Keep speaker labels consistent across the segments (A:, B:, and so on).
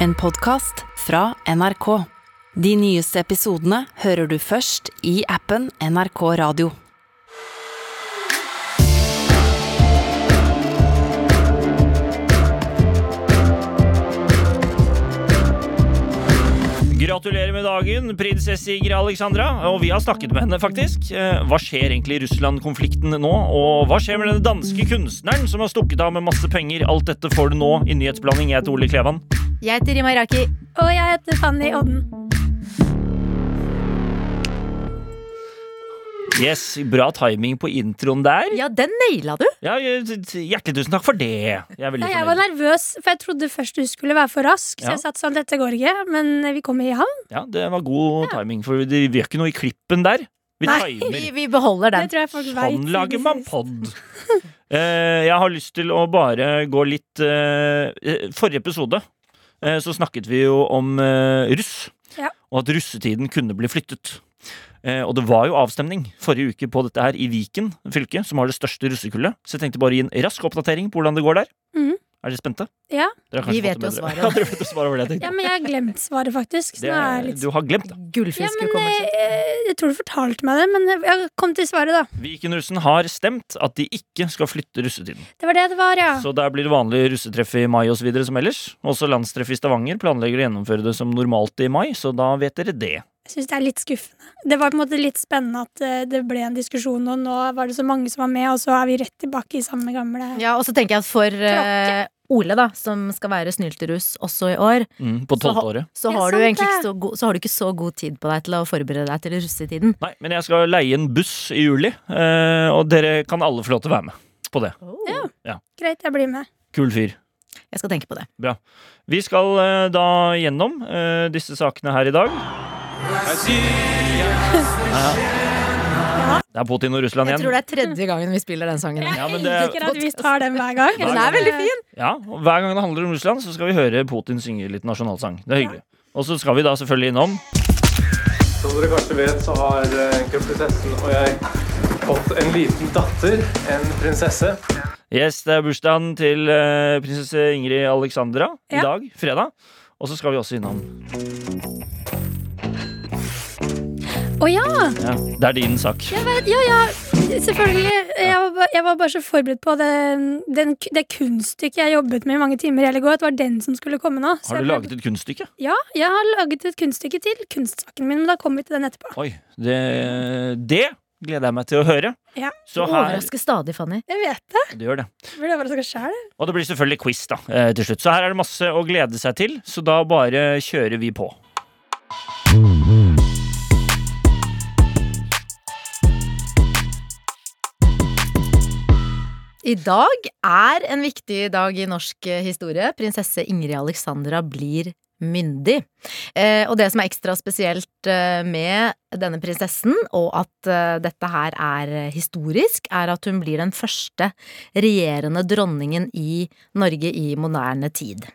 A: En podkast fra NRK. De nyeste episodene hører du først i appen NRK Radio.
B: Gratulerer med dagen, prinsesse Inger Alexandra. Og vi har snakket med henne, faktisk. Eh, Hva skjer egentlig i Russland-konflikten nå? Og hva skjer med den danske kunstneren som har stukket av med masse penger? Alt dette får du nå i Nyhetsblanding. Jeg heter Ole Klevan.
C: Jeg heter Rima Iraki. Og jeg heter Fanny Odden.
B: Yes, bra timing på introen der.
C: Ja, den naila du!
B: Ja, hjertelig tusen takk for det. Jeg er
D: Ja,
B: veldig
D: jeg var
B: fornøyd.
D: nervøs, for jeg trodde først du skulle være for rask. Så
B: Ja.
D: jeg satt sånn, dette går ikke, men vi kommer i havn.
B: Ja, det var god timing, for det gjør ikke noe i klippen der. Vi
C: Nei,
B: timer.
C: vi, vi beholder
D: Det
C: den.
D: tror jeg folk vet.
B: Sånn lager man pod. Eh, jeg har lyst til å bare gå litt eh, eh, Forrige episode eh, så snakket vi jo om eh, russ,
D: Ja.
B: og at russetiden kunne bli flyttet. Eh, og det var jo avstemning forrige uke på dette her i Viken fylke, som har det største russekullet. Så jeg tenkte bare gi en rask oppdatering på hvordan det går der.
D: Mhm.
B: Er dere spente?
D: Ja.
B: Dere har kanskje
C: Vi vet
B: fått det
C: jo
B: med dere.
C: svaret.
B: Ja, dere vet jo svaret over det, jeg
D: Ja,
B: tenkte.
D: men jeg har glemt svaret, faktisk. Så
B: Det
D: nå er
B: er-
D: jeg litt
B: Du har glemt det.
D: ja, men,
C: Gullfiskehukommelsen.
D: eh, Jeg tror du fortalte meg det, men jeg kom til svaret, da.
B: Vikenrussen har stemt at de ikke skal flytte russetiden.
D: Det var det det var, ja.
B: Så der blir det vanlig russetreff i mai og så videre som ellers. Også landstreff i Stavanger planlegger å gjennomføre det som normalt i mai, så da vet dere det.
D: Jeg syns det er litt skuffende. Det var på en måte litt spennende at eh, det ble en diskusjon, og nå var det så mange som var med, og så er vi rett tilbake i samme gamle
C: Ja, og så tenker jeg at for eh, Ole, da, som skal være snylterus også i år,
B: Mm, på
C: Så ha-
B: tolvte året.
C: så
D: Det er
C: har, du
D: sant,
C: egentlig ikke
D: det.
C: så god, så har du ikke så god tid på deg til å forberede deg til russetiden.
B: Nei, men jeg skal leie en buss i juli, eh, og dere kan alle få lov til å være med på det.
C: Ja.
D: Greit, jeg blir med.
B: Kul fyr.
C: Jeg skal tenke på det.
B: Vi skal eh, da gjennom eh, disse sakene her i dag. Ja. Det er Putin og Russland
C: Jeg tror
B: igjen.
C: det er tredje gangen vi spiller den sangen.
B: Ja, men
D: Jeg
B: det,
D: liker at vi tar den hver gang.
C: Den er veldig fin!
B: ja, og Hver gang det handler om Russland, så skal vi høre Putin synge litt nasjonalsang. Det er hyggelig. Og så skal vi da selvfølgelig innom
E: Som dere kanskje vet, så har eh, kronprinsessen og jeg fått en liten datter, en prinsesse.
B: Yes, det er bursdagen til eh, prinsesse Ingrid Alexandra i
D: Ja.
B: dag, fredag. Og så skal vi også innom
D: Eh, Å ja!
B: ja, Det er din sak.
D: Jeg vet, ja, ja, selvfølgelig. Jeg var, ba- jeg var bare så forberedt på den, den, det kunststykket jeg jobbet med i mange timer i hele går. At det var den som skulle komme nå. Så
B: Har du
D: jeg ble-
B: laget et kunststykke?
D: Ja, jeg har laget et kunststykke til kunstsaken min, men da kommer vi til den etterpå.
B: Oi, det, det gleder jeg meg til å høre.
D: Ja.
C: Du
B: Så her
C: overrasker stadig, Fanny.
D: Jeg vet det.
B: Du gjør det.
D: Jeg Burde overraska sjæl.
B: Og det blir selvfølgelig quiz da, eh, til slutt. Så her er det masse å glede seg til, så da bare kjører vi på.
C: I dag er en viktig dag i norsk eh, historie. Prinsesse Ingrid Alexandra blir myndig. Eh, og det som er ekstra spesielt eh, med denne prinsessen, og at eh, dette her er eh, historisk, er at hun blir den første regjerende dronningen i Norge i moderne tid.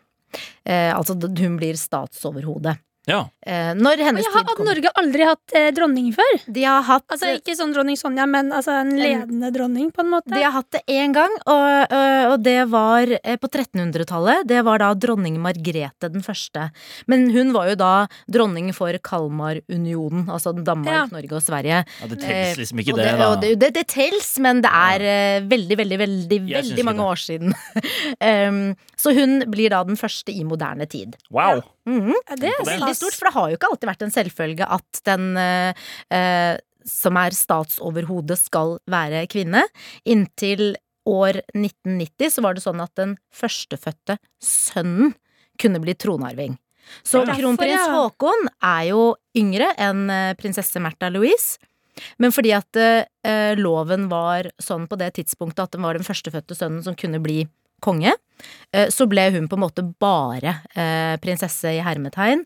C: Eh, altså d- hun blir statsoverhode.
B: Ja.
C: Eh,
D: Og
C: når hennes
D: jeg har
C: tid
D: at
C: kommer.
D: Norge aldri hatt eh, dronning før.
C: De har hatt
D: Altså Ikke sånn dronning Sonja, men altså en ledende dronning, på en
C: De
D: måte.
C: har hatt det én gang, og, øh, og det var eh, på 1300-tallet. Det var da dronning Margrete den første. Men hun var jo da dronning for Kalmarunionen, altså Danmark,
D: Ja.
C: Norge og Sverige.
B: ja det telles
C: Eh,
B: liksom ikke
C: og
B: det,
C: det,
B: da.
C: og det, det, det tels, men det er eh, veldig, veldig, veldig
B: Jeg syns ikke
C: veldig mange år siden. Em, så hun blir da den første i moderne tid.
B: Wow.
C: Mhm.
D: Ja, det er
C: Veldig
D: stas.
C: stort, for det har jo ikke alltid vært en selvfølge at den eh, eh, som er statsoverhode, skal være kvinne. Inntil år 1990 så var det sånn at den førstefødte sønnen kunne bli tronarving. Så
B: Ja.
C: kronprins
D: Derfor, ja.
C: Haakon er jo yngre enn eh, prinsesse Märtha Louise. Men fordi at eh, loven var sånn på det tidspunktet at den var den førstefødte sønnen som kunne bli konge, eh, så ble hun på en måte bare eh, prinsesse i hermetegn.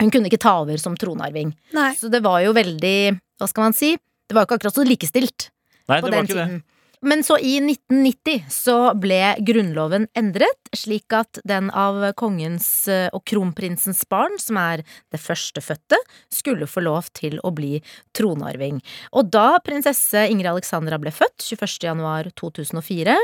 C: Hun kunne ikke ta over som tronarving.
D: Nei.
C: Så det var jo veldig, hva skal man si, det var jo ikke akkurat så likestilt
B: Nei, det
C: på
B: var
C: den
B: ikke det.
C: tiden. Men så i 1990 så ble grunnloven endret, slik at den av kongens eh, og kronprinsens barn, som er det førstefødte, skulle få lov til å bli tronarving. Og da prinsesse Ingrid Alexandra ble født, 21. januar 2004,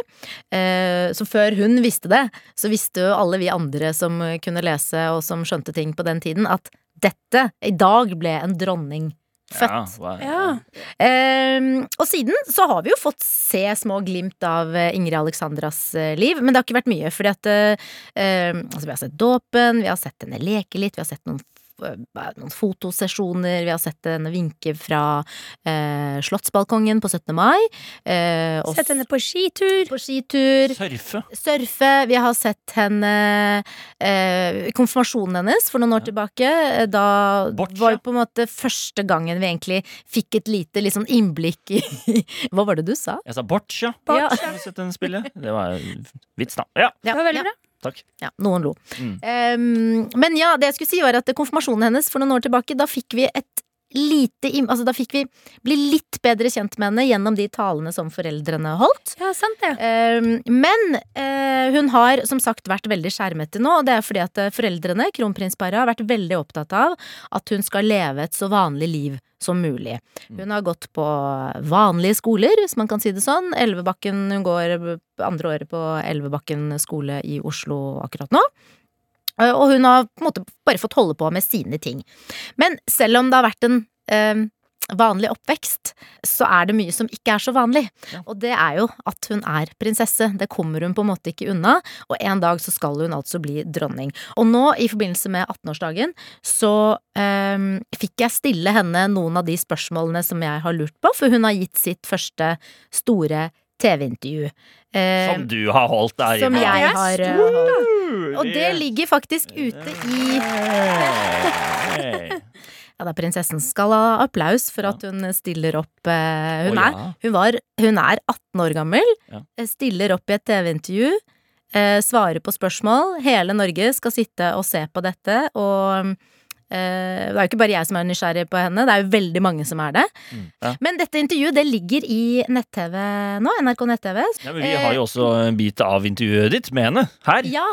C: eh, så før hun visste det, så visste jo alle vi andre som kunne lese og som skjønte ting på den tiden, at dette, i dag ble en dronning født.
B: hva-
D: Ja.
C: Ehm, og siden så har vi jo fått se små glimt av eh, Ingrid Alexandras eh, liv, men det har ikke vært mye. Fordi at eh, ehm, altså Vi har sett dåpen, vi har sett henne leke litt, vi har sett noen, f- eh, noen fotosesjoner, vi har sett henne vinke fra eh, slottsbalkongen på 17. mai. eh, og
D: Sett henne på skitur.
C: på skitur
B: Surfe.
C: surfe. Vi har sett henne eh, Konfirmasjonen hennes for noen år
B: Ja.
C: tilbake. eh, Da
B: Boccia.
C: var det på en måte første gangen vi egentlig fikk et lite litt sånn innblikk i Hva var det du sa?
B: Jeg sa boccia.
C: Ja.
B: Har du sett den spille? Det var vits, da. Ja,
C: Ja,
D: Det var veldig
C: ja,
D: bra.
B: takk.
C: ja, noen lo.
B: Mm.
C: Ehm, men ja, det jeg skulle si var at konfirmasjonen hennes for noen år tilbake, da fikk vi et lite im- Altså da fikk vi bli litt bedre kjent med henne gjennom de talene som foreldrene holdt.
D: Ja, sant det.
C: Ehm, Men eh, hun har som sagt vært veldig skjermete nå, og det er fordi at eh, foreldrene, kronprinsparet, har vært veldig opptatt av at hun skal leve et så vanlig liv som mulig. Hun har gått på vanlige skoler, hvis man kan si det sånn. Elvebakken, hun går andre året på Elvebakken skole i Oslo akkurat nå. Eh, Og hun har på en måte bare fått holde på med sine ting. Men selv om det har vært en eh, vanlig oppvekst, så er det mye som ikke er så vanlig. Og det er jo at hun er prinsesse. Det kommer hun på en måte ikke unna. Og en dag så skal hun altså bli dronning. Og nå, i forbindelse med 18-årsdagen, så eh, fikk jeg stille henne noen av de spørsmålene som jeg har lurt på, for hun har gitt sitt første store TV-intervju. Eh,
B: Som du har holdt der
C: som
B: hjemme.
D: Det
C: jeg
D: er
C: har eh,
D: stort,
C: holdt.
B: Uh,
C: Og det ligger faktisk ute i
B: Hey.
C: Ja, da prinsessen skal ha applaus for at hun stiller opp eh, Hun
B: Å,
C: er
B: ja.
C: hun, var, hun er 18 år gammel,
B: Ja.
C: eh, stiller opp i et TV-intervju, eh, svarer på spørsmål. Hele Norge skal sitte og se på dette, og eh, det er jo ikke bare jeg som er nysgjerrig på henne, det er jo veldig mange som er det.
B: Mm, ja.
C: Men dette intervjuet det ligger i nett-TV nå, NRK nett-TV.
B: Ja, men vi har jo også en bit av intervjuet ditt med henne her.
C: Eh. Ja.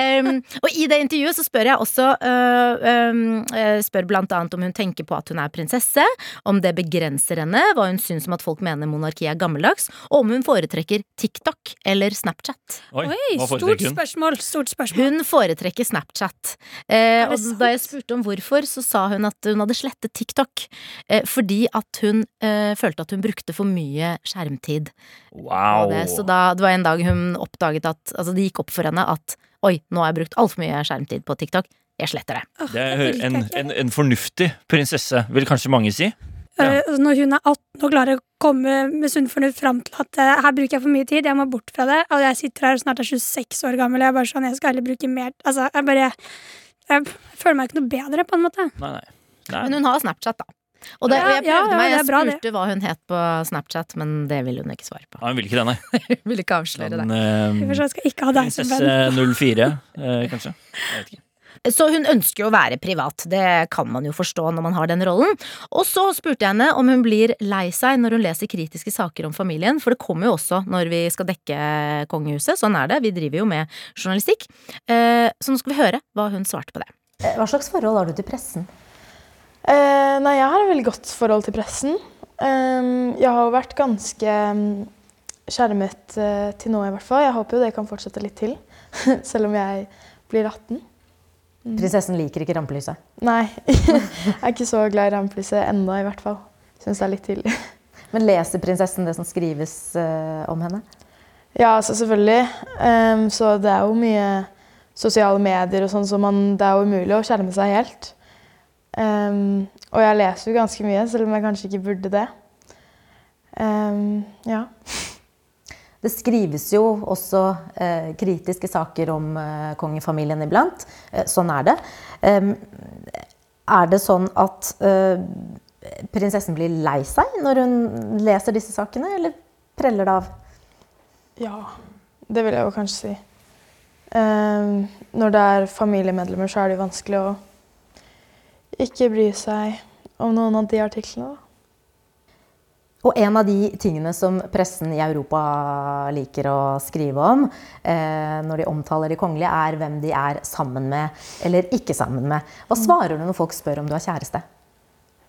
C: Ehm, og i det intervjuet så spør jeg også øh, øhm, øh, Spør blant annet om hun tenker på at hun er prinsesse, om det begrenser henne, hva hun syns om at folk mener monarkiet er gammeldags, og om hun foretrekker TikTok eller Snapchat.
D: Oi,
B: hva
D: stort
B: foretrekker hun?
D: spørsmål. Stort spørsmål.
C: Hun foretrekker Snapchat. Eh,
D: Er
C: og
D: det sant?
C: da jeg spurte om hvorfor, så sa hun at hun hadde slettet TikTok eh, fordi at hun eh, følte at hun brukte for mye skjermtid på
B: Wow.
C: det. Så da, det var en dag hun oppdaget at Altså, det gikk opp for henne at oi, nå har jeg brukt altfor mye skjermtid på TikTok. Jeg sletter det.
D: Åh,
B: Det
D: det
B: er
D: liker
B: en,
D: jeg ikke.
B: en, en fornuftig prinsesse, vil kanskje mange si. ja.
D: Eh, altså, Når hun er 18 og klarer å komme med sunn fornuft fram til at eh, her bruker jeg for mye tid, jeg må bort fra det. Og jeg sitter her og snart er 26 år gammel, og jeg er bare sånn, jeg skal heller bruke mer Altså, jeg bare Jeg føler meg ikke noe bedre, på en måte.
B: Nei, nei. nei.
C: Men hun har Snapchat, da. Og, det, og jeg
D: Ja, ja,
C: prøvde
D: ja,
C: meg,
D: det
C: jeg
D: er bra,
C: spurte hva hun het på Snapchat, men det ville hun ikke svare på.
B: Ja, hun vil ikke det, nei.
C: Hun ville ikke avsløre det.
B: Men, eh,
D: Derfor så skal jeg ikke ha deg som venn.
B: prinsesse 04, eh, kanskje. Jeg vet ikke.
C: Så hun ønsker jo å være privat, det kan man jo forstå når man har den rollen. Og så spurte jeg henne om hun blir lei seg når hun leser kritiske saker om familien, for det kommer jo også når vi skal dekke kongehuset, sånn er det, vi driver jo med journalistikk. Eh, Så nå skal vi høre hva hun svarte på det.
F: Eh,
C: Hva slags forhold har du til pressen?
G: Eh, nei, jeg har et veldig godt forhold til pressen. Ehm, jeg har jo vært ganske mm, skjermet eh, til nå, i hvert fall. Jeg håper jo det kan fortsette litt til, selv om jeg blir 18.
F: Prinsessen liker ikke rampelyset.
G: Nei, jeg er ikke så glad i rampelyset ennå, i hvert fall. Syns det er litt tidlig.
F: Men leser prinsessen det som skrives eh, om henne?
G: Ja, altså selvfølgelig. Ehm, så det er jo mye sosiale medier og sånn, så man, det er jo umulig å skjerme seg helt. Ehm, og jeg leser jo ganske mye, selv om jeg kanskje ikke burde det. Ehm, ja.
F: Det skrives jo også eh, kritiske saker om eh, kongefamilien iblant. Eh, sånn er det. Em, er det sånn at eh, prinsessen blir lei seg når hun leser disse sakene, eller preller det av?
G: Ja, det vil jeg jo kanskje si. Ehm, når det er familiemedlemmer, så er det jo vanskelig å ikke bry seg om noen av de artiklene. da.
F: Og en av de tingene som pressen i Europa liker å skrive om eh, når de omtaler de kongelige, er hvem de er sammen med eller ikke sammen med. Hva svarer du når folk spør om du har kjæreste?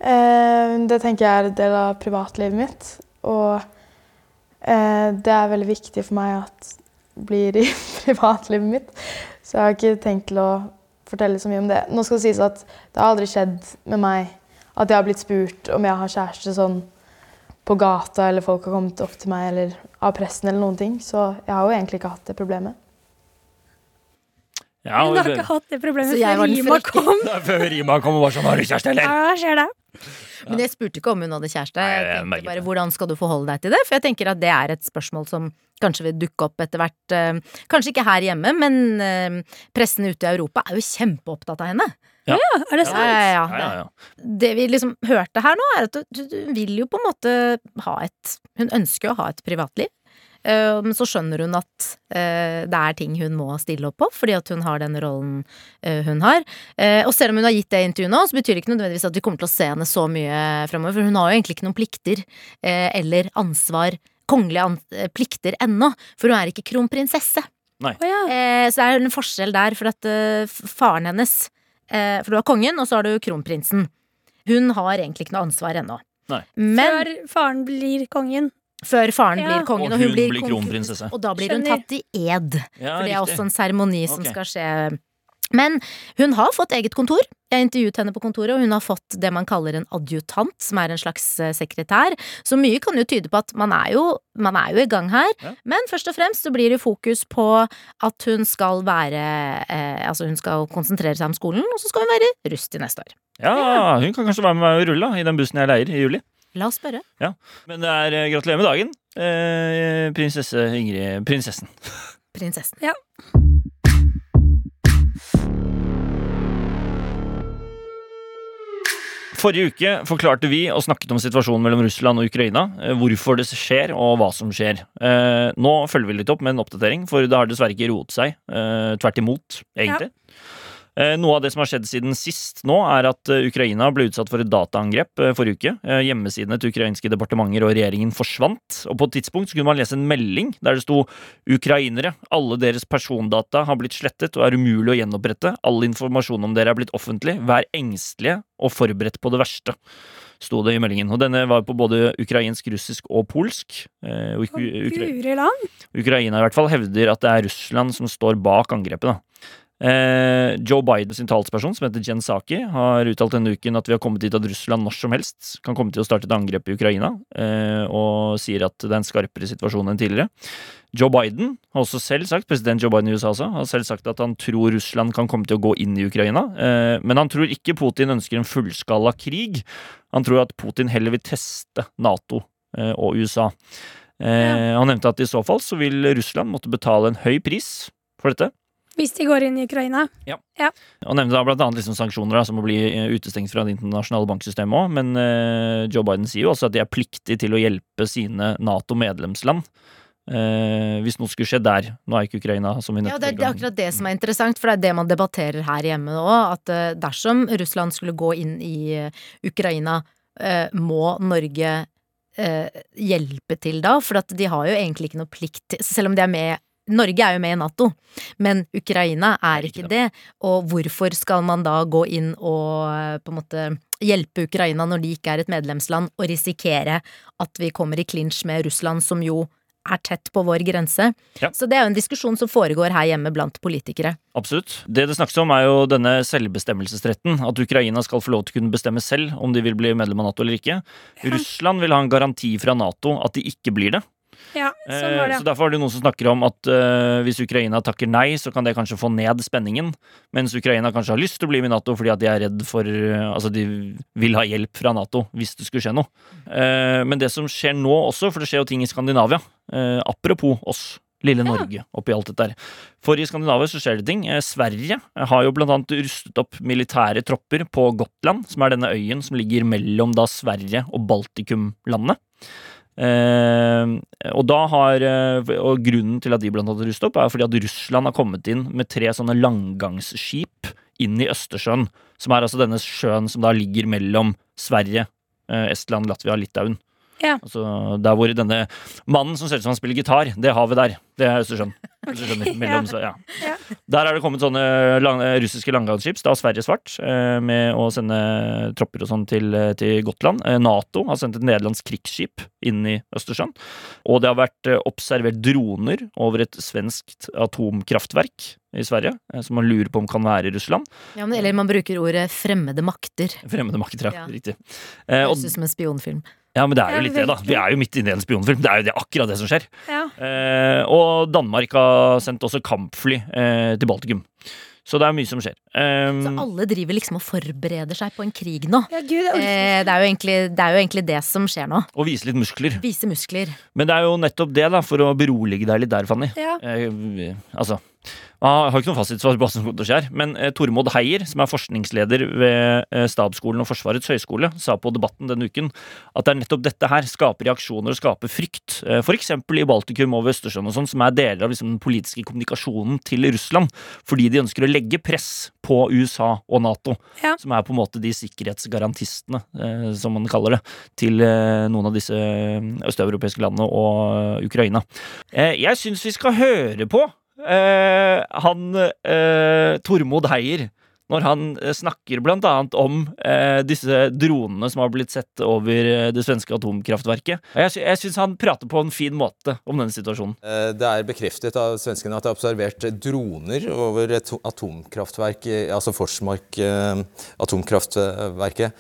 G: Eh, det tenker jeg er en del av privatlivet mitt. Og eh, det er veldig viktig for meg at det blir i privatlivet mitt. Så jeg har ikke tenkt til å fortelle så mye om det. Nå skal det sies at det har aldri skjedd med meg at jeg har blitt spurt om jeg har kjæreste sånn på gata, eller folk har kommet opp til meg, eller av pressen eller noen ting. Så jeg har jo egentlig ikke hatt det problemet.
B: Ja,
D: Hun har
B: det-
D: ikke hatt det problemet
C: Så jeg var
D: før
C: den
D: Rima
C: frekke.
D: kom.
B: det er før Rima kom og var sånn 'Har du kjæreste,
D: Ja,
B: eller?'
D: hva skjer det?
C: Men jeg spurte ikke om hun hadde kjæreste.
B: Nei,
C: Jeg
B: jeg merket
C: tenkte bare,
B: det.
C: Hvordan skal du forholde deg til det? For jeg tenker at det er et spørsmål som kanskje vil dukke opp etter hvert. eh, Kanskje ikke her hjemme, men eh, pressen ute i Europa er jo kjempeopptatt av henne.
D: Er det
C: Ja,
D: sant?
C: ja, ja.
B: Ja, ja, ja.
C: Det vi liksom hørte her nå, er at hun hun vil jo på en måte ha et Hun ønsker å ha et privatliv. eh, Men så skjønner hun at eh, det er ting hun må stille opp på, fordi at hun har den rollen eh, hun har. Eh, Og selv om hun har gitt det intervjuet nå, så betyr det ikke nødvendigvis at vi kommer til å se henne så mye fremover, for hun har jo egentlig ikke noen plikter eh, eller ansvar, kongelige an eh, plikter ennå, for hun er ikke kronprinsesse.
D: Å, ja.
C: Eh, så det er en forskjell der, for at eh, f- faren hennes eh, For du har kongen, og så har du kronprinsen. Hun har egentlig ikke noe ansvar ennå.
B: Nei.
C: Men før,
D: Før faren blir kongen.
C: faren
D: Ja.
C: blir
B: Og
C: kongen, og hun,
B: hun
C: blir
B: blir kronprinsesse.
C: Og da blir hun
D: Skjønner.
C: tatt i ed.
B: ja
C: For det er
B: Ah, riktig.
C: også en seremoni som
B: Ok.
C: skal skje. Men hun har fått eget kontor. Jeg intervjuet henne på kontoret, og hun har fått det man kaller en adjutant, som er en slags eh, sekretær. Så mye kan jo tyde på at man er jo, man er jo i gang her.
B: Ja.
C: Men først og fremst så blir det fokus på at hun skal være eh, Altså hun skal konsentrere seg om skolen, og så skal hun være russ til neste år.
B: Ja, hun kan kanskje være med meg og rulle da, i den bussen jeg leier i juli.
C: La oss spørre.
B: Men det er eh, gratulerer med dagen, eh, prinsesse Ingrid Prinsessen.
C: Prinsessen.
B: Forrige uke forklarte vi og snakket om situasjonen mellom Russland og Ukraina. eh, Hvorfor det skjer, og hva som skjer. Eh, Nå følger vi litt opp med en oppdatering, for det har dessverre ikke roet seg. eh, Tvert imot, egentlig. Eh, Noe av det som har skjedd siden sist nå, er at eh, Ukraina ble utsatt for et dataangrep eh, forrige uke. Eh, Hjemmesidene til ukrainske departementer og regjeringen forsvant. Og på et tidspunkt så kunne man lese en melding der det sto 'Ukrainere, alle deres persondata har blitt slettet og er umulig å gjenopprette'. 'All informasjon om dere er blitt offentlig. Vær engstelige og forberedt på det verste', sto det i meldingen. Og denne var på både ukrainsk, russisk og polsk. Eh, og
D: Og
B: uk- ukra-
D: Guri land.
B: Ukraina i hvert fall hevder at det er Russland som står bak angrepet. Da. Eh, Joe Bidens talsperson, som heter Jen Saki, har uttalt denne uken at vi har kommet dit at Russland når som helst kan komme til å starte et angrep i Ukraina, eh, og sier at det er en skarpere situasjon enn tidligere. Joe Biden har også selv sagt, president Joe Biden i USA også, har selv sagt at han tror Russland kan komme til å gå inn i Ukraina, eh, men han tror ikke Putin ønsker en fullskala krig. Han tror at Putin heller vil teste Nato eh, og USA. Eh, Han nevnte at i så fall så vil Russland måtte betale en høy pris for dette.
D: Hvis de går inn i Ukraina.
B: Han nevnte da blant annet liksom sanksjoner da, som å bli eh, utestengt fra det internasjonale banksystemet òg, men eh, Joe Biden sier jo også at de er pliktig til å hjelpe sine Nato-medlemsland. Eh, hvis noe skulle skje der. Nå er ikke Ukraina som vi
C: Ja, det, er-
B: nettopp
C: det er akkurat det som er interessant, for det er det man debatterer her hjemme òg. At eh, dersom Russland skulle gå inn i eh, Ukraina, eh, må Norge eh, hjelpe til da? For at de har jo egentlig ikke noe plikt til Selv om de er med Norge er jo med i Nato, men Ukraina er ikke det. Og hvorfor skal man da gå inn og eh, på en måte hjelpe Ukraina når de ikke er et medlemsland, og risikere at vi kommer i clinch med Russland, som jo er tett på vår grense? Så det er jo en diskusjon som foregår her hjemme blant politikere.
B: Absolutt. Det det snakkes om, er jo denne selvbestemmelsesretten. At Ukraina skal få lov til å kunne bestemme selv om de vil bli medlem av Nato eller ikke. Russland vil ha en garanti fra Nato at de ikke blir det.
D: Ja, sånn
B: Eh,
D: var det.
B: Så derfor er det noen som snakker om at eh, hvis Ukraina takker nei, så kan det kanskje få ned spenningen. Mens Ukraina kanskje har lyst til å bli med i Nato fordi at de er redd for eh, Altså, de vil ha hjelp fra Nato hvis det skulle skje noe. Eh, men det som skjer nå også, for det skjer jo ting i Skandinavia. eh, apropos oss. Lille Norge oppi alt dette her. For i Skandinavia så skjer det ting. Eh, Sverige har jo blant annet rustet opp militære tropper på Gotland, som er denne øyen som ligger mellom da Sverige og Baltikum-landene. Eh, og da har eh, Og grunnen til at de blant annet rustet opp, er fordi at Russland har kommet inn med tre sånne langgangsskip inn i Østersjøen. Som er altså denne sjøen som da ligger mellom Sverige, eh, Estland, Latvia, Litauen.
D: Ja.
B: Altså, der hvor denne mannen som ser ut som han spiller gitar, det har vi der. Det er Østersjøen. Østersjøen mellom, Sver-
D: Ja.
B: ja. Der er det kommet sånne lang, eh, russiske langgangsskip, da Sverige svart, eh, med å sende tropper og sånn til, til Gotland. Eh, Nato har sendt et nederlandsk krigsskip inn i Østersjøen. Og det har vært eh, observert droner over et svenskt atomkraftverk i Sverige, eh, som man lurer på om kan være i Russland.
C: Ja, men, eller man bruker ordet fremmede makter.
B: Fremmede makter, ja.
C: Ja.
B: Riktig. Eh, og,
C: Høres ut som en spionfilm.
B: ja, men det er
D: Ja,
B: jo litt det, da.
D: virkelig.
B: Vi er jo midt inne i en spionfilm. Det er jo det, akkurat det som skjer.
D: Ja.
B: Eh, og Danmark har sendt også kampfly eh, til Baltikum. Så det er mye som skjer. Eh,
C: Så alle driver liksom og forbereder seg på en krig nå.
D: ja, gud, jeg orker
C: Eh, det, er jo egentlig, det er jo egentlig det som skjer nå.
B: og vise litt muskler.
C: Vise muskler.
B: Men det er jo nettopp det, da, for å berolige deg litt der, Fanny.
D: Ja.
B: Eh, vi- altså Jeg har ikke noe fasitsvar på hva som kommer til å skje her, men eh, Tormod Heier, som er forskningsleder ved eh, Stabsskolen og Forsvarets høgskole, sa på Debatten denne uken at det er nettopp dette her skaper reaksjoner og skaper frykt. Eh, For eksempel i Baltikum og ved Østersjøen og sånn, som er deler av liksom den politiske kommunikasjonen til Russland, fordi de ønsker å legge press på USA og Nato,
D: Ja.
B: som er på en måte de sikkerhetsgarantistene, eh, som man kaller det, til eh, noen av disse eh, østeuropeiske landene og eh, Ukraina. Eh, Jeg syns vi skal høre på eh, han eh, Tormod Heier når han eh, snakker blant annet om eh, disse dronene som har blitt sett over eh, det svenske atomkraftverket. Jeg, sy jeg syns han prater på en fin måte om denne situasjonen.
H: Eh, Det er bekreftet av svenskene at det er observert droner over et to- atomkraftverk, eh, altså Forsmark eh, atomkraftverket.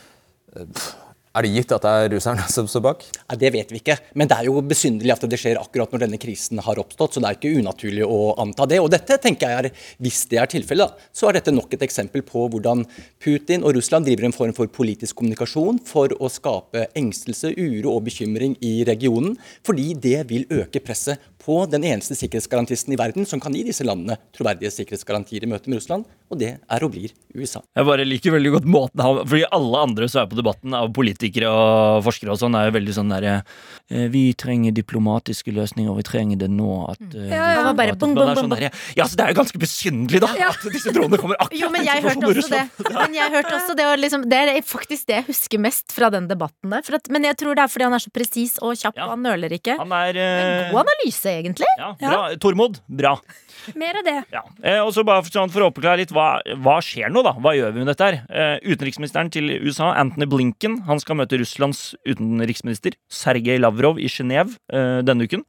H: Eh, pff, Er det gitt at det er russerne som står bak?
I: Nei, Det vet vi ikke, men det er jo besynderlig at det skjer akkurat når denne krisen har oppstått. Så det er ikke unaturlig å anta det. Og dette tenker jeg er, hvis det er tilfellet, da, så er dette nok et eksempel på hvordan Putin og Russland driver en form for politisk kommunikasjon for å skape engstelse, uro og bekymring i regionen. Fordi det vil øke presset på den eneste sikkerhetsgarantisten i verden som kan gi disse landene troverdige sikkerhetsgarantier i møte med Russland, og det er og blir USA.
B: Jeg bare liker veldig godt måten han Fordi alle andre som er på debatten av politikere og forskere og sånn, er jo veldig sånn derre eh, Vi trenger diplomatiske løsninger, og vi trenger det nå at eh,
D: Ja, ja.
B: vi-
D: Det var
C: bare
B: at-
C: bong,
B: men det er
C: bong,
B: sånn
C: bong,
B: derre, Ja, så det er jo ganske besynderlig, da, at disse dronene kommer akkurat
C: Jo, men
B: i
C: jeg hørte
B: situasjonen hvor
C: også det.
B: Russland-
C: Men jeg hørte også det, og liksom, det er faktisk det jeg husker mest fra den debatten der. For at, men jeg tror det er fordi han er så presis og kjapp,
B: Ja.
C: og han nøler ikke.
B: Han er eh,
C: God analyse, egentlig.
B: ja, bra. Tormod, bra.
D: Mer av det.
B: Ja. Eh, og så bare for, sånn, for å oppklare litt, hva, hva skjer nå, da? Hva gjør vi med dette her? Eh, utenriksministeren til USA, Antony Blinken, han skal møte Russlands utenriksminister Sergej Lavrov i Genéve eh, denne uken.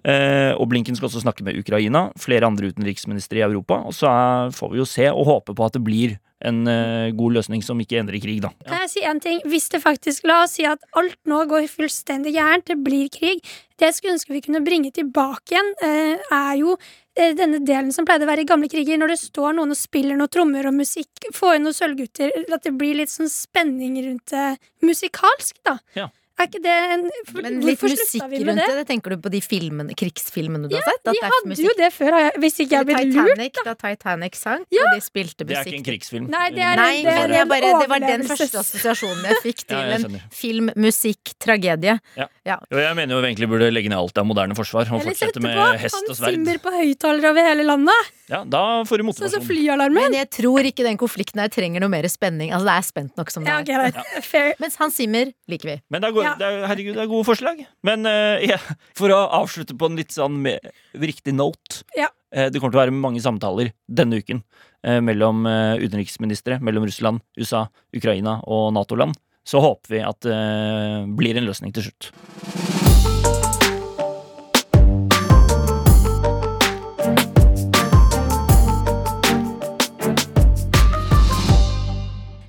B: Eh, og Blinken skal også snakke med Ukraina, flere andre utenriksministre i Europa. Og så er, får vi jo se og håpe på at det blir en eh, god løsning som ikke endrer krig, da.
D: Kan jeg si en ting? Hvis det faktisk La oss si at alt nå går fullstendig gærent, det blir krig. Det jeg skulle ønske vi kunne bringe tilbake igjen, eh, er jo eh, denne delen som pleide å være i gamle kriger, når det står noen og spiller noen trommer og musikk. Få inn noen sølvgutter. At det blir litt sånn spenning rundt det musikalsk, da.
B: Ja.
D: Er ikke det en for,
C: Men litt
D: Hvorfor
C: musikk
D: slutta vi
C: rundt
D: med
C: det?
D: det?
C: det. Tenker du på de filmene, krigsfilmene du har sett? At
D: Vi
C: det er
D: hadde
C: musikk.
D: jo det før, har jeg- hvis ikke jeg
C: Eller
D: blir lurt.
C: Titanic, da Titanic sang, og de spilte
B: Det er ikke en
C: musikk.
B: krigsfilm.
D: Nei, det er,
C: Nei,
D: det er
C: men jeg
D: en
C: bare, det var den
D: overlevelses-
C: første assosiasjonen jeg fikk til
B: Ja, jeg
C: en
B: skjønner.
C: film, musikk, tragedie.
B: Jo, Jeg mener jo vi egentlig burde legge ned alt av moderne forsvar og
D: Eller
B: fortsette
D: sette
B: med
D: på
B: hest og
D: Hans
B: sverd.
D: Zimmer på høyttalere over hele landet.
B: Ja, da får du
D: Sånn som
B: motivasjon.
D: flyalarmen.
C: Men jeg tror ikke den konflikten her trenger noe mer spenning. Altså, det er spent nok som det
D: Ja,
C: er.
D: ok, greit. Fair.
C: Mens Hans Zimmer liker vi.
B: Men det er, gode,
D: Ja.
B: det er, herregud, det er gode forslag. Men eh, ja, for å avslutte på en litt sånn me- riktig note
D: Ja.
B: eh, Det kommer til å være mange samtaler denne uken eh, mellom eh, utenriksministre, mellom Russland, USA, Ukraina og Nato-land. Så håper vi at det blir en løsning til slutt.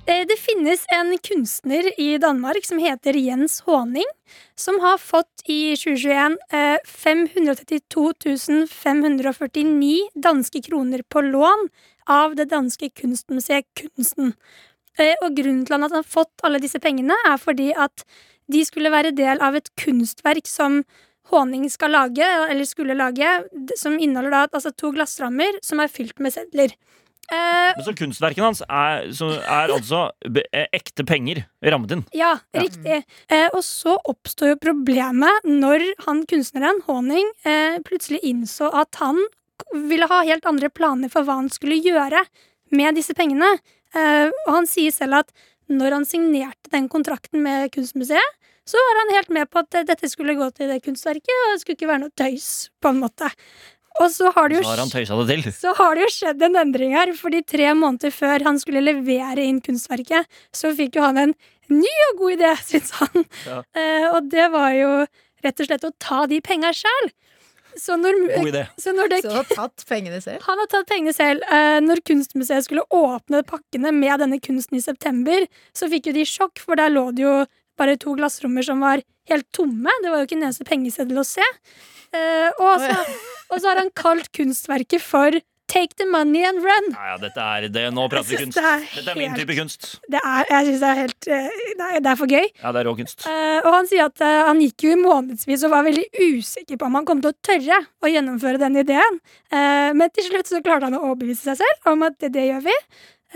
D: Eh, Det finnes en kunstner i Danmark som heter Jens Håning, som har fått i 2021 eh, 532 549 danske kroner på lån av det danske kunstmuseet Kunsten. Eh, Og grunnen til at han har fått alle disse pengene, er fordi at de skulle være del av et kunstverk som Håning skal lage, eller skulle lage, d- som inneholder da altså to glassrammer som er fylt med sedler. Eh,
B: Men så kunstverkene hans er, så er altså be- eh, ekte penger rammet inn.
D: Ja, riktig. Eh, og så oppstår jo problemet når han kunstneren, Håning, eh, plutselig innså at han k- ville ha helt andre planer for hva han skulle gjøre med disse pengene. Eh, og han sier selv at når han signerte den kontrakten med Kunstmuseet, så var han helt med på at eh, dette skulle gå til det kunstverket, og det skulle ikke være noe tøys, på en måte. Og så har det jo
B: Så har han tøysa det til.
D: så har det jo skjedd en endring her, fordi tre måneder før han skulle levere inn kunstverket, så fikk jo han en ny og god idé, syns han.
B: Ja.
D: Eh, og det var jo rett og slett å ta de penga sjæl. Så når,
B: God idé.
D: så når det
C: Så har tatt pengene selv.
D: han har tatt pengene selv. Eh, Når Kunstmuseet skulle åpne pakkene med denne kunsten i september, så fikk jo de sjokk, for der lå det jo bare to glassrommer som var helt tomme. Det var jo ikke en eneste pengeseddel å se. Eh, Og så, og så har han kalt kunstverket for Take the money and run.
B: Ja, ja, dette er det. Nå prater vi
D: Jeg synes
B: kunst.
D: det er
B: Dette er min
D: helt-
B: type kunst.
D: Det er, jeg syns det er helt eh, det er, det er for gøy.
B: Ja, det er rå kunst.
D: Eh, og han sier at eh, han gikk jo i månedsvis og var veldig usikker på om han kom til å tørre å gjennomføre den ideen. Eh, men til slutt så klarte han å overbevise seg selv om at det, det gjør vi.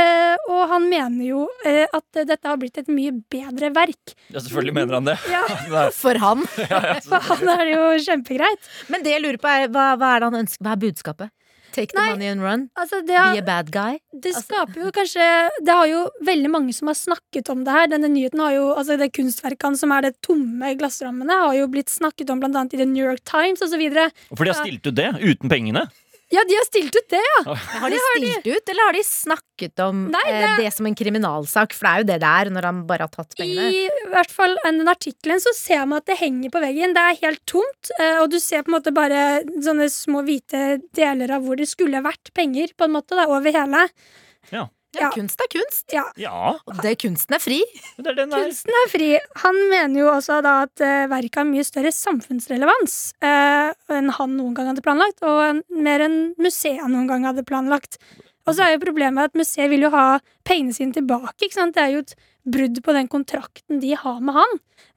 D: Eh, og han mener jo eh, at dette har blitt et mye bedre verk.
B: Ja, selvfølgelig mener han det.
D: Ja,
B: Nei,
C: For han.
D: For han er det jo kjempegreit.
C: Men det jeg lurer på, er hva, hva er det han ønsker? Hva er budskapet? Take the
D: Nei.
C: money and run?
D: Altså, det,
C: Be a
D: har,
C: bad guy?
D: det skaper jo kanskje Det har jo veldig mange som har snakket om det her. Denne nyheten har jo Altså, det kunstverket hans som er det tomme glassrammene, har jo blitt snakket om blant annet i The New York Times osv.
B: For de har stilt ut det uten pengene.
D: Ja, de har stilt ut det, ja!
C: Har de stilt ut, eller har de snakket om
D: Nei,
C: det... Eh, det som en kriminalsak? For det er jo det det er når han bare har tatt pengene.
D: I hvert fall en- den artikkelen så ser man at det henger på veggen. Det er helt tomt, eh, og du ser på en måte bare sånne små hvite deler av hvor det skulle vært penger, på en måte, da, over hele.
C: Ja,
D: Ja.
C: kunst er kunst.
D: Ja.
B: Ja,
C: Og det kunsten er fri.
B: det er den der.
D: Kunsten er fri. Han mener jo også da at eh, verket har mye større samfunnsrelevans eh, enn han noen gang hadde planlagt, og en- mer enn museet noen gang hadde planlagt. Og så er jo problemet at museet vil jo ha pengene sine tilbake. ikke sant? Det er jo et brudd på den kontrakten de har med han.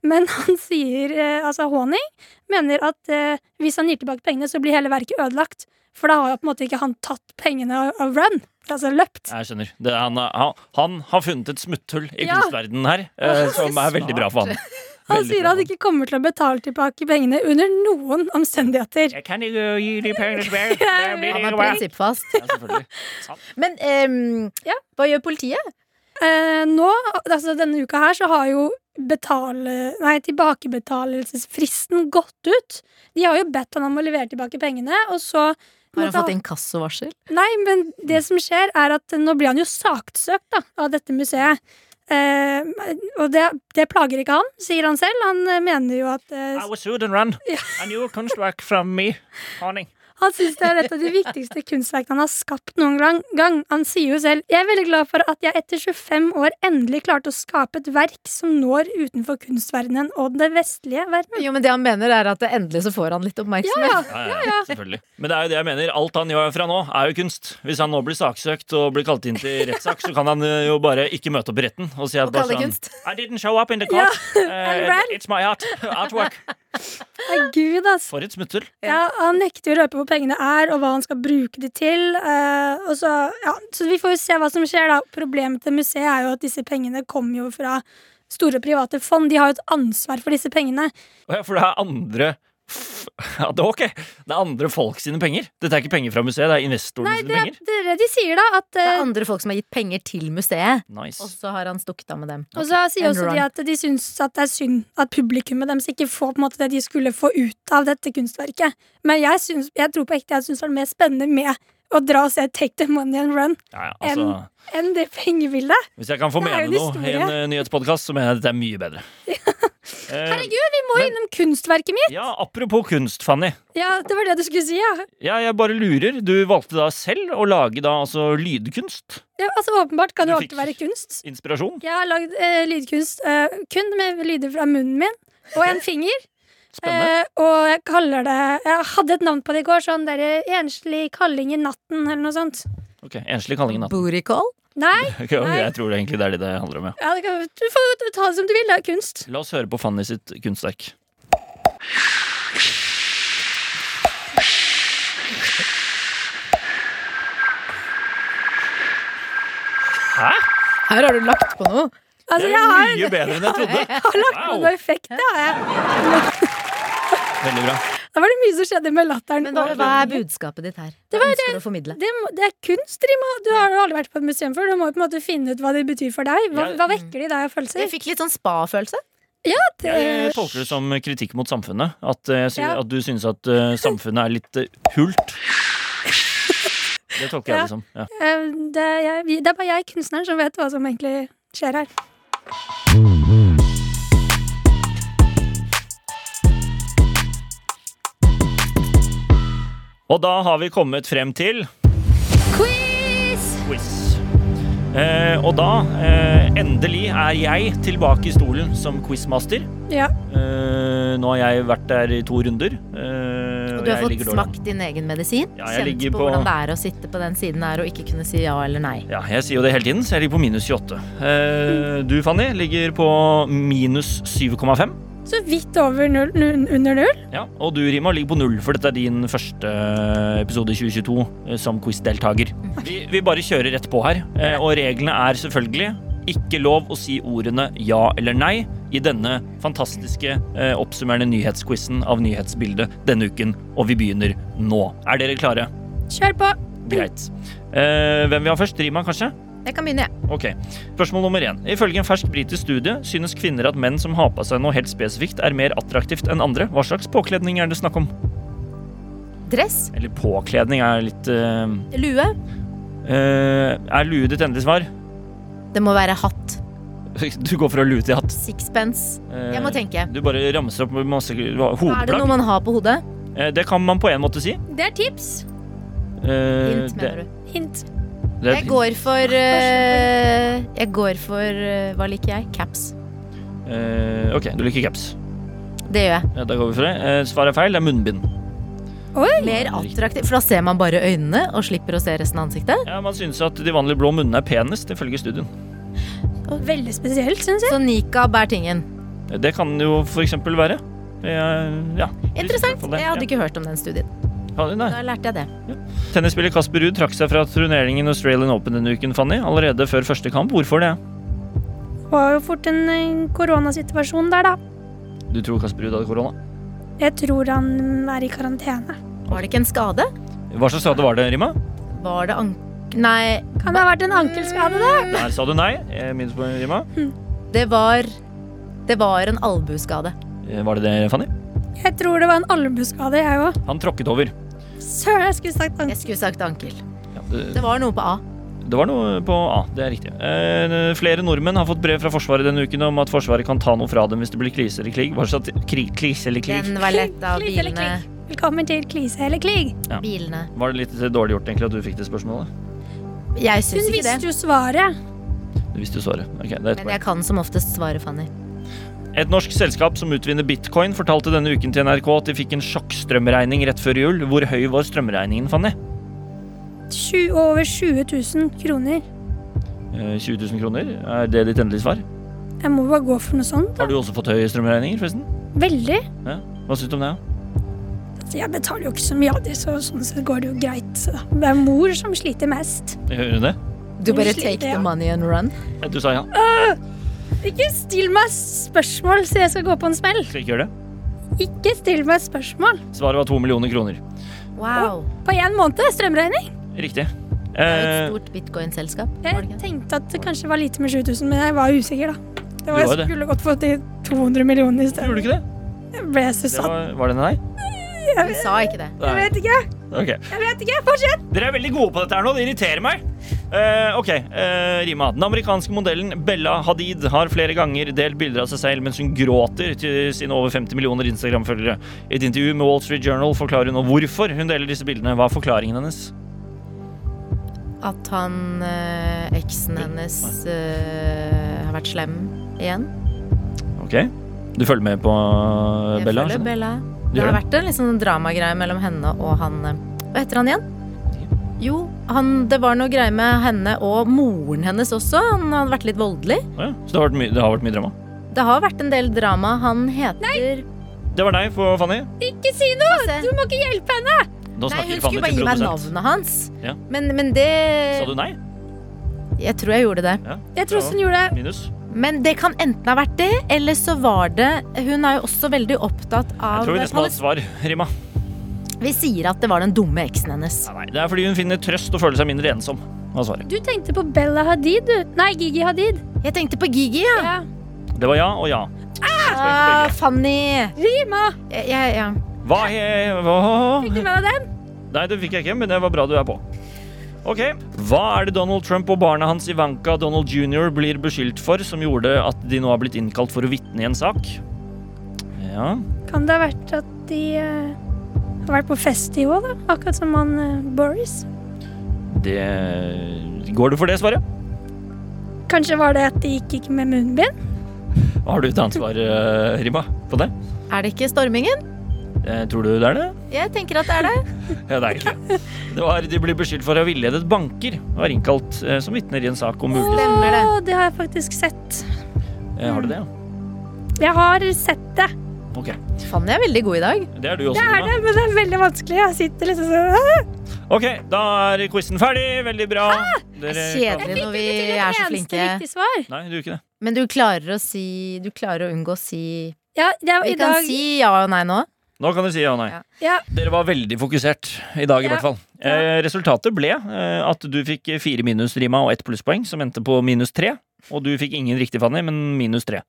D: Men han sier, eh, altså Håning, mener at eh, hvis han gir tilbake pengene, så blir hele verket ødelagt. For da har jo på en måte ikke han tatt pengene og, og run, altså løpt.
B: Jeg skjønner. Det er, han, er- han, han har funnet et smutthull i
D: Ja.
B: kunstverdenen her, eh, som er veldig bra for han.
D: Han
B: Veldig
D: sier
B: bra
D: han
B: for
D: ikke kommer til å betale tilbake pengene under noen omstendigheter.
B: Jeg kan ikke gi de pengene tilbake.
D: Ja,
B: Det blir
D: han
C: Han er
B: ikke bra.
C: prinsippfast.
B: Ja, selvfølgelig.
C: Men ehm,
D: Ja.
C: hva gjør politiet?
D: Eh, nå, altså denne uka her, så har jo betale, nei, tilbakebetalelsesfristen gått ut. De har jo bedt han om å levere tilbake pengene, og så
C: Har han
D: måtte
C: fått inkassovarsel?
D: Nei, men det som skjer, er at nå blir han jo saksøkt da, av dette museet. Eh, og det, det plager ikke han, sier han selv. Han eh, mener jo at eh,
B: I was sued and run. A new kunstverk from me. Honning.
D: Han syns det er et av de viktigste kunstverkene han har skapt noen gang- gang. Han sier jo selv Jeg er veldig glad for at jeg etter 25 år endelig klarte å skape et verk som når utenfor kunstverdenen og den vestlige verden.
C: Jo, men det han mener, er at endelig så får han litt oppmerksomhet.
D: Ja,
B: Ja, ja, selvfølgelig. Men det er jo det jeg mener. Alt han gjør fra nå, er jo kunst. Hvis han nå blir saksøkt og blir kalt inn til rettssak, så kan han eh, jo bare ikke møte opp i retten og si at
C: Og kalle
B: bare sånn,
C: det kunst.
B: I didn't show up in the court. Eh,
D: ran.
B: it's my art. Artwork.
D: Nei, gud, ass.
B: For et smutthull.
D: Ja, han nekter jo å røpe hvor pengene er, og hva han skal bruke de til. eh, og så, ja, så vi får jo se hva som skjer, da. Problemet til museet er jo at disse pengene kommer jo fra store private fond. De har jo et ansvar for disse pengene.
B: Å ja, for det er andre f- ja, det, er ok. det er andre folk sine penger. Dette er ikke penger fra museet, det er investorene
D: Nei,
B: sine
D: det er
B: penger.
D: det, er det de sier, da. At
C: Det
D: eh,
C: er andre folk som har gitt penger til museet,
B: Nice.
C: og så har han stukket av med dem.
D: Og så sier
C: And
D: også de
C: run.
D: at de syns at det er synd at publikummet deres ikke får på en måte det de skulle få ut av dette kunstverket. Men jeg, syns- jeg tror på ekte jeg syns det var mer spennende med å dra og se Take the Money and Run
B: Ja, ja, altså,
D: en- enn det pengebildet.
B: hvis jeg kan få
D: det er
B: mene
D: jo en
B: noe i en
D: historie.
B: uh, nyhetspodkast, så mener jeg at dette er mye bedre. Herregud!
D: Vi må
B: Men-
D: innom kunstverket mitt!
B: Ja, apropos kunst, Fanny.
D: Ja, det var det du skulle si, ja.
B: Ja, jeg bare lurer. Du valgte da selv å lage da altså lydkunst?
D: ja altså åpenbart kan
B: Du
D: jo
B: fikk-
D: alltid være kunst.
B: Inspirasjon?
D: Jeg har lagd eh, lydkunst eh, kun med lyder fra munnen min og en finger.
B: Spennende.
D: Eh, og jeg kaller det Jeg hadde et navn på det i går, sånn derre enslig kalling i natten, eller noe sånt.
B: Ok, Enslig kalling i natten.
C: Booty call?
D: Nei,
B: Ok, jeg tror det egentlig det er det det handler om. ja.
D: Ja, det kan, du får ta det som du vil. Det er kunst.
B: La oss høre på Fanny sitt kunstverk. Hæ?
C: Her har du lagt på noe.
D: Altså,
B: Det
D: jeg
B: er
D: har,
B: mye bedre enn jeg trodde.
D: jeg har lagt på
B: Wow.
D: noe effekt. Det, har jeg.
B: Veldig bra.
D: Da var det mye som skjedde med latteren.
C: Men hva,
D: og-
C: hva er budskapet ditt her? Hva ønsker du å formidle?
D: det, må- det er kunst, Rima. Du har jo aldri vært på et museum før. Du må jo på en måte finne ut hva de betyr for deg. Hva,
B: Ja.
D: hva vekker de i deg av
C: Jeg
D: følelser?
C: fikk litt sånn spa-følelse.
D: Ja, det
B: Jeg Eh, tolker det som kritikk mot samfunnet. At, eh, sy-
D: Eh, Ja.
B: at du synes at eh, samfunnet er litt eh, hult. Det tolker jeg
D: Ja.
B: det som. Ja.
D: Eh, det, er jeg, vi- det er bare jeg, kunstneren, som vet hva som egentlig skjer her.
B: Og da har vi kommet frem til Quiz! Eh, og da, eh, endelig, er jeg tilbake i stolen som quizmaster.
D: Ja.
B: Eh, nå har jeg vært der i to runder. eh,
C: Du har
B: jeg ligger dårlig.
C: fått smakt din egen medisin.
B: Ja, jeg
C: kjent
B: ligger
C: på,
B: på-
C: hvordan det er å sitte på den siden her og ikke kunne si ja eller nei.
B: Ja, jeg sier jo det hele tiden, så jeg ligger på minus 28. Eh, du, Fanny, ligger på minus 7,5.
D: Så vidt over null, null, under null.
B: Ja, og du, Rima, ligger på null, for dette er din første episode i 2022 eh, som quizdeltaker. Vi, vi bare kjører rett på her, eh, og reglene er selvfølgelig ikke lov å si ordene ja eller nei i denne fantastiske eh, oppsummerende nyhetsquizen av nyhetsbildet denne uken, og vi begynner nå. Er dere klare?
D: Kjør på!
B: Greit. Eh, hvem vil ha først? Rima, kanskje?
C: Jeg kan begynne, jeg.
B: Ok, Spørsmål nummer én. Ifølge en fersk britisk studie synes kvinner at menn som har på seg noe helt spesifikt, er mer attraktivt enn andre. Hva slags påkledning er det snakk om?
C: Dress,
B: Eller påkledning er litt eh,
C: lue.
B: eh, Er lue ditt endelige svar?
C: Det må være hatt.
B: Du går fra lue til hatt.
C: Sixpence.
B: Eh,
C: Jeg må tenke.
B: Du bare ramser opp masse hva-
C: Er det
B: hodeplagg.
C: noe man har på hodet?
B: Eh, det kan man på en måte si.
D: Det er tips.
B: Eh,
C: Hint, mener du.
D: Hint.
B: det er et
C: Jeg går for eh, Jeg går for eh, Hva liker jeg? Caps.
B: hint. Eh, OK, du liker caps.
C: Det gjør jeg.
B: Ja, da går vi for det. Eh, svaret er feil. Det er munnbind.
C: Mer attraktiv, for da ser man bare øynene og slipper å se resten av ansiktet.
B: Ja, Man synes at de vanlige blå munnene er penest, ifølge studien.
D: Veldig spesielt, syns jeg.
C: Så nikab er tingen.
B: Eh, Det kan det jo for eksempel være. Eh, ja.
C: Interessant.
B: Det-
C: Jeg hadde ikke hørt om den studien.
B: Ja, nei.
C: Da lærte jeg det.
B: Tennisspiller Kasper Ruud trakk seg fra turneringen Australian Open denne uken, Fanny. Allerede før første kamp. Hvorfor det?
D: Var jo fort en eh, koronasituasjon der, da.
B: Du tror Kasper Ruud hadde korona?
D: Jeg tror han er i karantene.
C: Var det ikke en skade?
B: Hva slags skade var det, Rima?
C: Var det ank... Nei,
D: Kan det ha vært en ankelskade, da?
B: Der sa du nei. Eh, Minus på Rima.
C: det var Det var en albueskade.
B: Eh, Var det det, Fanny?
D: Jeg tror det var en albueskade, jeg òg.
B: Han tråkket over.
D: Søren, jeg skulle sagt
C: Jeg
D: ankel.
C: skulle sagt ankel.
B: Ja, det,
C: Det var noe på A.
B: det var noe på A. Det er riktig. Eh, flere nordmenn har fått brev fra Forsvaret denne uken om at Forsvaret kan ta noe fra dem hvis det blir krise eller krig. Hva slags krig, krise eller krig?
C: Den var lett av
D: Klik eller
C: bilene.
D: klikk. Velkommen til Klise eller krig.
C: bilene.
B: Var det litt dårlig gjort egentlig at du fikk det spørsmålet?
C: Jeg
D: Hun
C: syns ikke
D: visste
C: det.
D: jo svaret.
B: Du visste jo svaret. Ok, det er et
C: Men
B: poeng.
C: jeg kan som oftest svare, Fanny.
B: Et norsk selskap som utvinner bitcoin, fortalte denne uken til NRK at de fikk en sjokkstrømregning rett før jul. Hvor høy var strømregningen, Fanny?
D: Sju- Over 20 000 kroner.
B: Eh, 20 000 kroner, er det ditt endelige svar?
D: Jeg må bare gå for noe sånt. da.
B: Har du også fått høye strømregninger, forresten?
D: Veldig.
B: Ja. Hva syns du om det? da?
D: Så Jeg betaler jo ikke så mye av det, så sånn sett går det jo greit. så da. Det er mor som sliter mest.
B: Hører du det?
C: Du bare
D: Unnskyld,
C: take the
D: ja.
C: money and run.
B: Ja, Du sa ja.
D: Ikke still meg spørsmål, så jeg skal gå på en smell.
B: Skal jeg ikke gjøre det?
D: Ikke still meg spørsmål.
B: Svaret var to millioner kroner.
C: Wow.
D: På én måned strømregning.
B: Riktig.
C: Det er jo et
B: Eh,
C: stort bitcoin-selskap. var det
D: Jeg
C: ikke?
D: tenkte at det kanskje var lite med 7000, men jeg var usikker, da. Det var,
B: Du var det.
D: jeg skulle gått for de 200 millionene i
B: gjorde du
D: stedet.
B: ikke det?
D: Jeg ble
B: det
D: sussatt.
B: var, var det en nei?
C: Du sa ikke det.
D: Jeg vet ikke.
B: Ok.
D: Jeg vet ikke. Fortsett.
B: Dere er veldig gode på dette her nå. Det irriterer meg. Eh, ok, eh, Rima. Den amerikanske modellen Bella Hadid har flere ganger delt bilder av seg selv mens hun gråter til sine over 50 millioner Instagram-følgere. I et intervju med Wall Street Journal forklarer hun nå hvorfor hun deler disse bildene. Hva er forklaringen hennes?
C: At han eh, eksen hennes eh, har vært slem igjen.
B: Ok, Du følger med på eh,
C: Jeg
B: Bella?
C: føler
B: skjønner jeg.
C: Bella.
B: Du
C: Det
B: gjør
C: har
B: det?
C: vært en litt sånn dramagreie mellom henne og han eh, Hva heter han igjen? Jo, han, det var noe greie med henne og moren hennes også. Han hadde vært litt voldelig.
B: Å ja. Så det har, vært mye, det har vært mye drama?
C: Det har vært en del drama. Han heter Nei,
B: Det var deg, for Fanny.
D: Ikke si noe! Du må ikke hjelpe henne!
B: Nå snakker Fanny
C: hun skulle bare gi
B: til
C: meg
B: produsent.
C: navnet hans.
B: Ja.
C: Men, men det
B: Sa du nei?
C: Jeg tror jeg gjorde det.
B: Ja.
D: Jeg tror også hun gjorde det.
B: Minus.
C: Men det kan enten ha vært det, eller så var det Hun er jo også veldig opptatt
B: Jeg
C: av
B: tror vi nesten har et svar, Rima.
C: Vi sier at det var den dumme eksen hennes.
B: Nei, det er fordi hun finner trøst og føler seg mindre ensom. Hva er svaret?
D: Du tenkte på Bella Hadid, du. Nei, Gigi Hadid.
C: Jeg tenkte på Gigi, ja.
D: Ja.
B: Det var ja og ja. poeng på
C: Ah,
B: begge.
C: Fanny!
D: Rima!
C: Jeg, jeg, ja.
B: Hva, he- hva?
D: Fikk du med deg den?
B: Nei, det fikk jeg ikke, men det var bra du er på. Ok, Hva er det Donald Trump og barna hans Ivanka Donald jr. blir beskyldt for, som gjorde at de nå har blitt innkalt for å vitne i en sak? Ja
D: Kan det ha vært at de eh, har vært på festival, da? Akkurat som han eh, Boris.
B: det Går du for det svaret?
D: Kanskje var det at de gikk ikke med munnbind?
B: Har du et ansvar, eh, Rima, på det?
C: Er det ikke stormingen?
B: Eh, tror du det er det?
C: Jeg tenker at det er det.
B: Ja, det er ikke det. det var, de blir beskyldt for å ha villedet banker og er innkalt eh, som vitner i en sak om mulig
C: Stemmer det.
D: Å, det har jeg faktisk sett.
B: eh, Har du det? ja?
D: Jeg har sett det.
B: Ok.
C: Fanny er veldig god i dag.
B: Det er du også,
D: Det er
B: Rima.
D: det, men det er veldig vanskelig. Jeg sitter liksom sånn «Åh!»
B: Ok, da er quizen ferdig. Veldig bra.
D: Ah,
C: Det er
B: kan-
C: kjedelig når vi er så
D: eneste
C: flinke.
D: riktig svar.
B: Nei, du gjør ikke det.
C: Men du klarer å si Du klarer å unngå å si
D: Ja, det er,
C: Vi
D: i
C: kan
D: dag
C: si ja og nei nå.
B: Nå kan du si ja og nei.
C: Ja.
D: Ja.
B: Dere var veldig fokusert i dag, i
D: Ja.
B: hvert fall. Eh, resultatet ble eh, at du fikk fire minus, Rima, og ett plusspoeng, som endte på minus tre. Og du fikk ingen riktig, Fanny, men minus tre.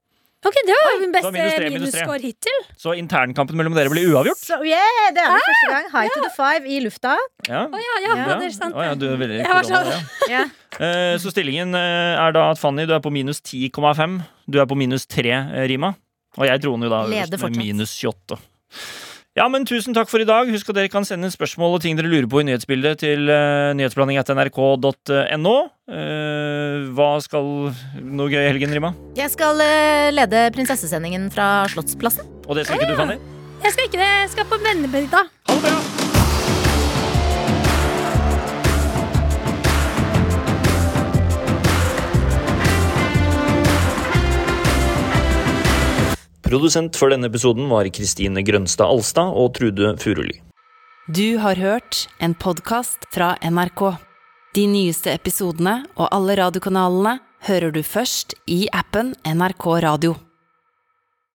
D: Ok, det var min
B: da
D: beste
B: minus tre, minus tre.
D: minusscore hittil.
B: Så internkampen mellom dere ble uavgjort.
F: Så, yeah, det er
C: Ah,
F: det første gang. High to the five i lufta.
B: Ja.
D: Å ja, ja,
B: Ja.
D: det er sant.
B: Å ja, du er veldig
D: Jeg var
B: korona,
D: sånn.
B: ja. Eh, Så stillingen eh, er da at Fanny, du er på minus 10,5. Du er på minus 3, eh, Rima. Og jeg troner jo da øverst
C: Leder fortsatt.
B: med minus 28. Ja, men tusen takk for i dag. Husk at dere kan sende inn spørsmål og ting dere lurer på i nyhetsbildet til uh, nyhetsblanding.nrk.no. Eh, hva skal Noe gøy i helgen, Rima?
C: Jeg skal eh, lede prinsessesendingen fra Slottsplassen.
B: Og det skal ikke du, Fanny?
D: Jeg skal ikke det. Jeg skal på vennebygda.
B: Ha det bra! Produsent for denne episoden var Kristine Grønstad Alstad og Trude Furuli.
A: Du har hørt en podkast fra NRK. De nyeste episodene og alle radiokanalene hører du først i appen NRK Radio.